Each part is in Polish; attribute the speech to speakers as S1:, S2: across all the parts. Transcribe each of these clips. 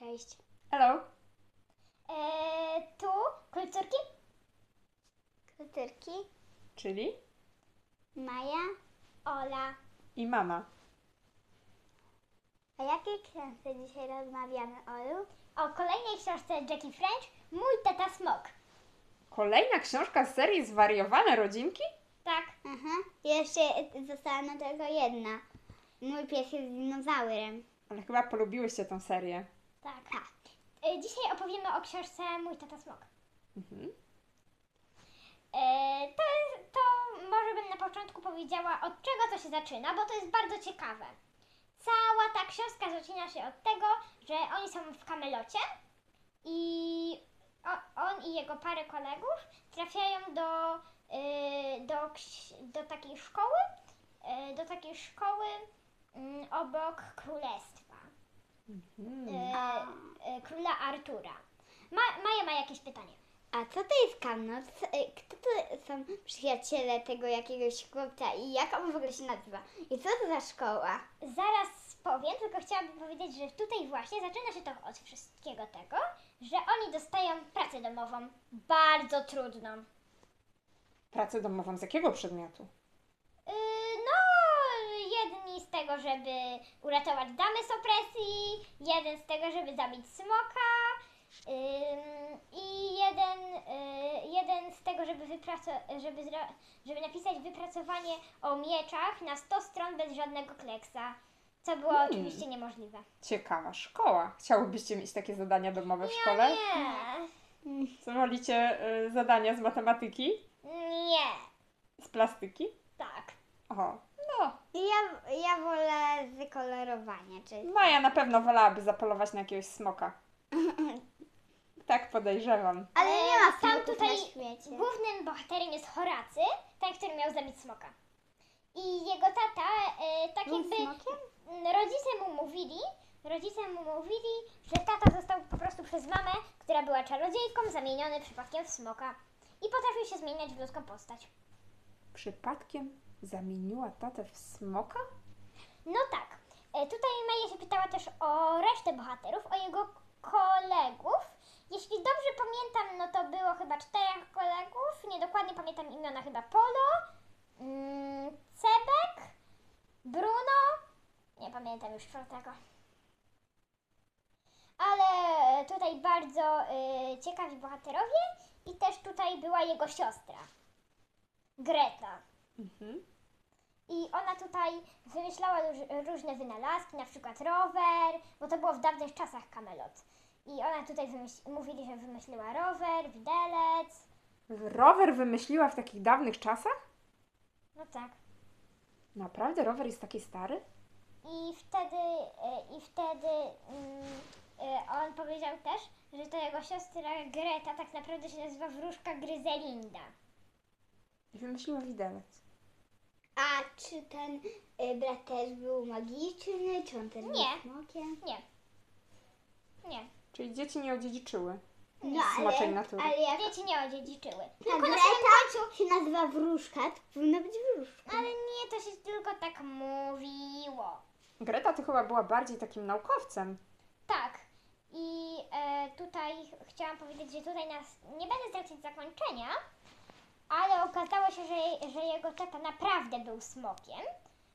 S1: wyjść.
S2: Hello.
S1: Eee, tu kulturki? Kulturki.
S2: Czyli
S1: Maja, Ola.
S2: i mama.
S1: O jakiej książce dzisiaj rozmawiamy, Olu? O kolejnej książce Jackie French, Mój tata smok.
S2: Kolejna książka z serii Zwariowane rodzinki?
S1: Tak. Aha. Jeszcze została nam tylko jedna. Mój pies jest dinozaurem.
S2: Ale chyba polubiłyście tą serię.
S1: Tak. E, Dzisiaj opowiemy o książce Mój tata smok.
S2: Mhm.
S1: E, To, jest- to może bym na początku powiedziała, od czego to się zaczyna, bo to jest bardzo ciekawe. Cała ta książka zaczyna się od tego, że oni są w kamelocie i o, on i jego parę kolegów trafiają do, y, do, ks- do takiej szkoły, y, do takiej szkoły mm, obok królestwa, y,
S3: Hmm.
S2: Mm.
S1: y, króla Artura. Ma, Maja ma jakieś pytanie.
S3: A co to jest kamnot? Kto to są przyjaciele tego jakiegoś chłopca i jak on w ogóle się nazywa? I co to za szkoła?
S1: Zaraz powiem, tylko chciałabym powiedzieć, że tutaj właśnie zaczyna się to od wszystkiego tego, że oni dostają pracę domową bardzo trudną.
S2: Pracę domową z jakiego przedmiotu?
S1: Yy, no, jedni z tego, żeby uratować damy z opresji, jeden z tego, żeby zabić smoka ym, i jeden, yy, jeden z tego, żeby, wypraco- żeby, zra- żeby napisać wypracowanie o mieczach na 100 stron bez żadnego kleksa, co było
S2: Hmm.
S1: oczywiście niemożliwe.
S2: Ciekawa szkoła. Chciałybyście mieć takie zadania domowe w szkole?
S1: Nie.
S2: Co wolicie y, zadania z matematyki?
S1: Nie,
S2: Z plastyki?
S1: tak.
S2: O, no.
S3: I ja, ja wolę z kolorowania, czyli
S2: Maja na pewno wolałaby zapolować na jakiegoś smoka. Tak podejrzewam.
S3: Ale nie ma
S1: Eee,
S3: E, tam
S1: tam
S3: tutaj
S1: tutaj
S3: na świecie.
S1: Głównym bohaterem jest Horacy, ten, który miał zabić smoka. I jego tata, e, tak
S3: Był
S1: jakby
S3: smokiem?
S1: m, rodzice mu mówili, rodzice mu mówili, że tata został po prostu przez mamę, która była czarodziejką, zamieniony przypadkiem w smoka. I potrafił się zmieniać w ludzką postać.
S2: Przypadkiem zamieniła tatę w smoka?
S1: No tak, e, tutaj Maja się pytała też o resztę bohaterów, o jego kolegów. Jeśli dobrze pamiętam, no to było chyba czterech kolegów, niedokładnie pamiętam imiona, chyba Polo, mm, Cebek, Bruno, nie pamiętam już czwartego. Ale e, tutaj bardzo y, ciekawi bohaterowie i też tutaj była jego siostra, Greta.
S2: Mhm.
S1: I ona tutaj wymyślała róż, różne wynalazki, na przykład rower, bo to było w dawnych czasach kamelot. I ona tutaj wymyśl, mówili, że wymyśliła rower, widelec.
S2: Rower wymyśliła w takich dawnych czasach?
S1: No tak.
S2: Naprawdę rower jest taki stary?
S1: I wtedy, y, i wtedy mm, y, on powiedział też, że to jego siostra Greta tak naprawdę się nazywa wróżka Gryzelinda.
S2: I wymyśliła widelec.
S3: A czy ten y, brat też był magiczny? Czy on też był
S1: Nie.
S3: smokiem?
S1: Nie. Nie.
S2: Czyli dzieci nie odziedziczyły.
S3: No,
S2: Smoczej natury.
S3: ale jak
S1: Dzieci nie odziedziczyły.
S3: ta
S1: Tylko na samym
S3: Greta się nazywa wróżka, to powinna być wróżka.
S1: Ale nie, to się tylko tak mówiło.
S2: Greta to chyba była bardziej takim naukowcem.
S1: Tak. I e, tutaj chciałam powiedzieć, że tutaj nas nie będę zdradzać zakończenia, ale okazało się, że, że jego tata naprawdę był smokiem,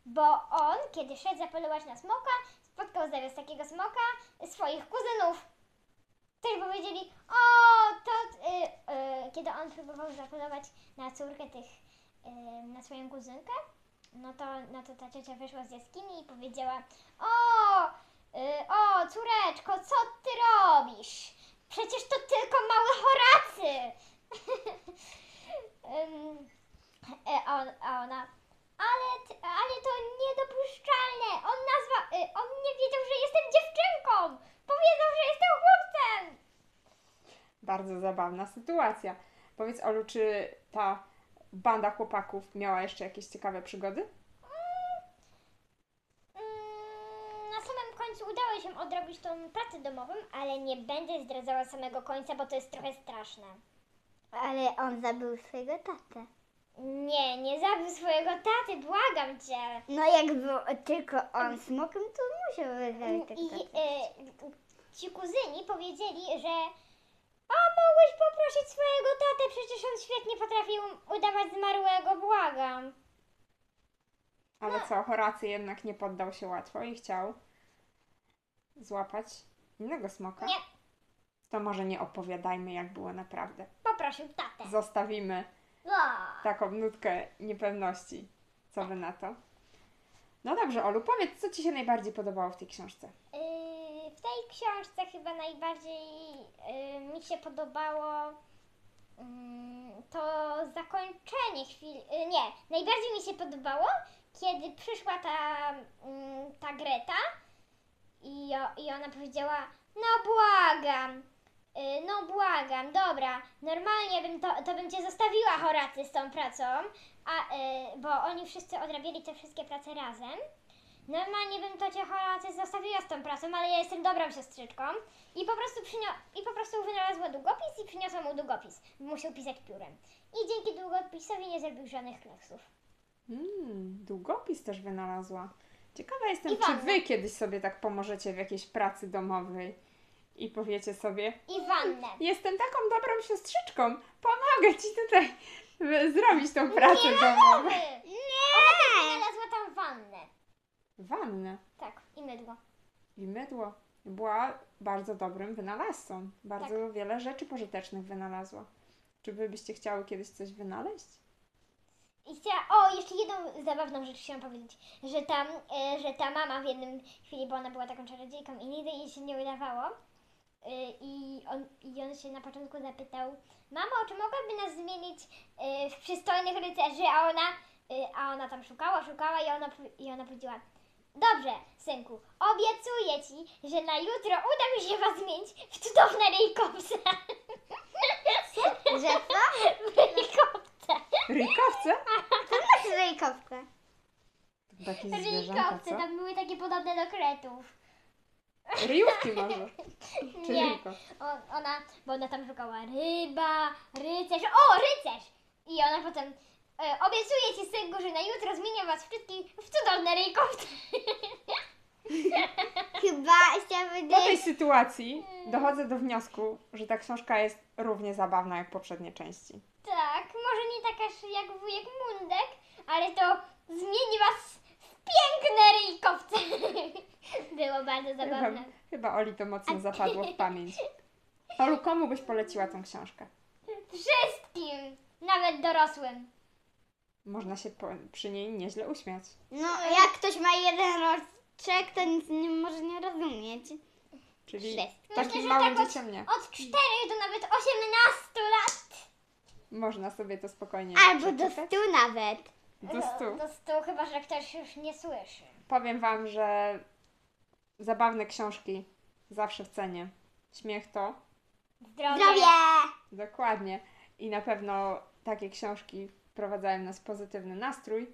S1: bo on, kiedy szedł zapolować na smoka, spotkał zamiast takiego smoka swoich kuzynów. Też powiedzieli, o, to y, y, kiedy on próbował zapolować na córkę tych, y, na swoją kuzynkę, no to, no to ta ciocia wyszła z jaskini i powiedziała, o, Y, o, córeczko, co ty robisz? Przecież to tylko mały Horacy! Ym, e, a on, a ona, ale, t- ale to niedopuszczalne! On nazwa, y, on nie wiedział, że jestem dziewczynką! Powiedział, że jestem chłopcem!
S2: Bardzo zabawna sytuacja. Powiedz Olu, czy ta banda chłopaków miała jeszcze jakieś ciekawe przygody?
S1: Mm, na samym końcu udało się odrobić tą pracę domową, ale nie będę zdradzała samego końca, bo to jest trochę straszne.
S3: Ale on zabił swojego tatę.
S1: Nie, nie zabił swojego taty, błagam cię!
S3: No jak był tylko on smokiem, to musiał
S1: Mm,
S3: zabić tego
S1: I,
S3: tatę.
S1: e, ci kuzyni powiedzieli, że o, mogłeś poprosić swojego tatę, przecież on świetnie potrafił udawać zmarłego, błagam.
S2: Ale co, Horacy jednak nie poddał się łatwo i chciał złapać innego smoka.
S1: Nie.
S2: To może nie opowiadajmy, jak było naprawdę.
S1: Poprosił tatę.
S2: Zostawimy
S1: No.
S2: taką nutkę niepewności. Co wy na to? No dobrze, Olu, powiedz, co ci się najbardziej podobało w tej książce?
S1: Yy, W tej książce chyba najbardziej yy, mi się podobało mm, to zakończenie chwili. yy, Nie, najbardziej mi się podobało, kiedy przyszła ta, mm, ta Greta i, o- i ona powiedziała: No błagam, yy, no błagam, dobra, normalnie bym to, to bym cię zostawiła Horacy z tą pracą, a, yy, bo oni wszyscy odrabiali te wszystkie prace razem. Normalnie bym to cię Horacy zostawiła z tą pracą, ale ja jestem dobrą siostrzyczką. I po prostu, przynio- i po prostu wynalazła długopis i przyniosła mu długopis. Musiał pisać piórem. I dzięki długopisowi nie zrobił żadnych kleksów.
S2: Mm, długopis też wynalazła. Ciekawa jestem,
S1: I wannę.
S2: czy wy kiedyś sobie tak pomożecie w jakiejś pracy domowej i powiecie sobie,
S1: I wannę.
S2: jestem taką dobrą siostrzyczką, pomogę ci tutaj w- zrobić tą pracę domową.
S1: Nie! Ona też wynalazła tam wannę.
S2: Wannę
S1: Tak, i mydło.
S2: i mydło. Była bardzo dobrym wynalazcą. Bardzo wiele rzeczy pożytecznych wynalazła. Czy wy byście chciały kiedyś coś wynaleźć?
S1: I chciała, o, jeszcze jedną zabawną rzecz chciałam powiedzieć, że tam, e, że ta mama w jednym chwili, bo ona była taką czarodziejką i nigdy jej się nie udawało. e, I on, I on się na początku zapytał, mamo, czy mogłaby nas zmienić e, w przystojnych rycerzy, a ona, e, a ona tam szukała, szukała i ona, powi- i ona powiedziała, dobrze, synku, obiecuję ci, że na jutro uda mi się was zmienić w cudowne ryjkowce.
S3: Że co?
S1: Ryjkowce.
S2: Ryjkowce?
S3: To jest ryjkowce.
S2: To takie zwierzęta,
S1: Ryjkowce, tak.
S2: co?
S1: tam były takie podobne do kretów.
S2: Ryjówki może? Czy
S1: Nie.
S2: ryjko?
S1: On, ona, bo ona tam szukała ryba, rycerz. O, rycerz! I ona potem e, obiecuje ci synku, że na jutro zmienię was wszystkich w cudowne ryjkowce.
S3: Chyba chciałabym
S2: Po tej sytuacji
S1: Mm.
S2: dochodzę do wniosku, że ta książka jest równie zabawna jak poprzednie części.
S1: Tak, może nie taka sz- jak wujek Mundek, ale to zmieni was w piękne ryjkowce. Było bardzo
S2: Chyba,
S1: zabawne.
S2: chyba Oli to mocno zapadło w pamięć. Olu, komu byś poleciła tą książkę?
S1: Wszystkim, nawet dorosłym.
S2: Można się po, przy niej nieźle uśmiać.
S3: No, jak ktoś ma jeden roczek, to nic nie może nie rozumieć.
S2: Czyli
S3: Wszystko.
S1: Myślę,
S2: takim
S1: że
S2: małym
S1: tak
S2: dzieciom nie.
S1: Od 4 do nawet 18 lat.
S2: Można sobie to spokojnie
S3: Albo do
S2: przeczytać.
S3: stu nawet.
S2: do stu.
S1: No, Do stu, chyba że ktoś już nie słyszy.
S2: Powiem Wam, że zabawne książki zawsze w cenie. Śmiech to
S3: Zdrowie!
S2: Dokładnie. I na pewno takie książki wprowadzają nas w pozytywny nastrój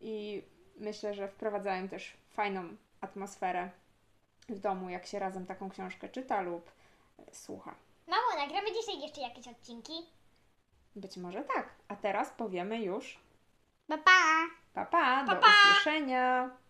S2: i myślę, że wprowadzają też fajną atmosferę w domu, jak się razem taką książkę czyta lub e, słucha.
S1: Mało, nagramy dzisiaj jeszcze jakieś odcinki.
S2: Być może tak. A teraz powiemy już
S3: Pa, pa!
S2: pa pa, do
S1: pa!
S2: usłyszenia.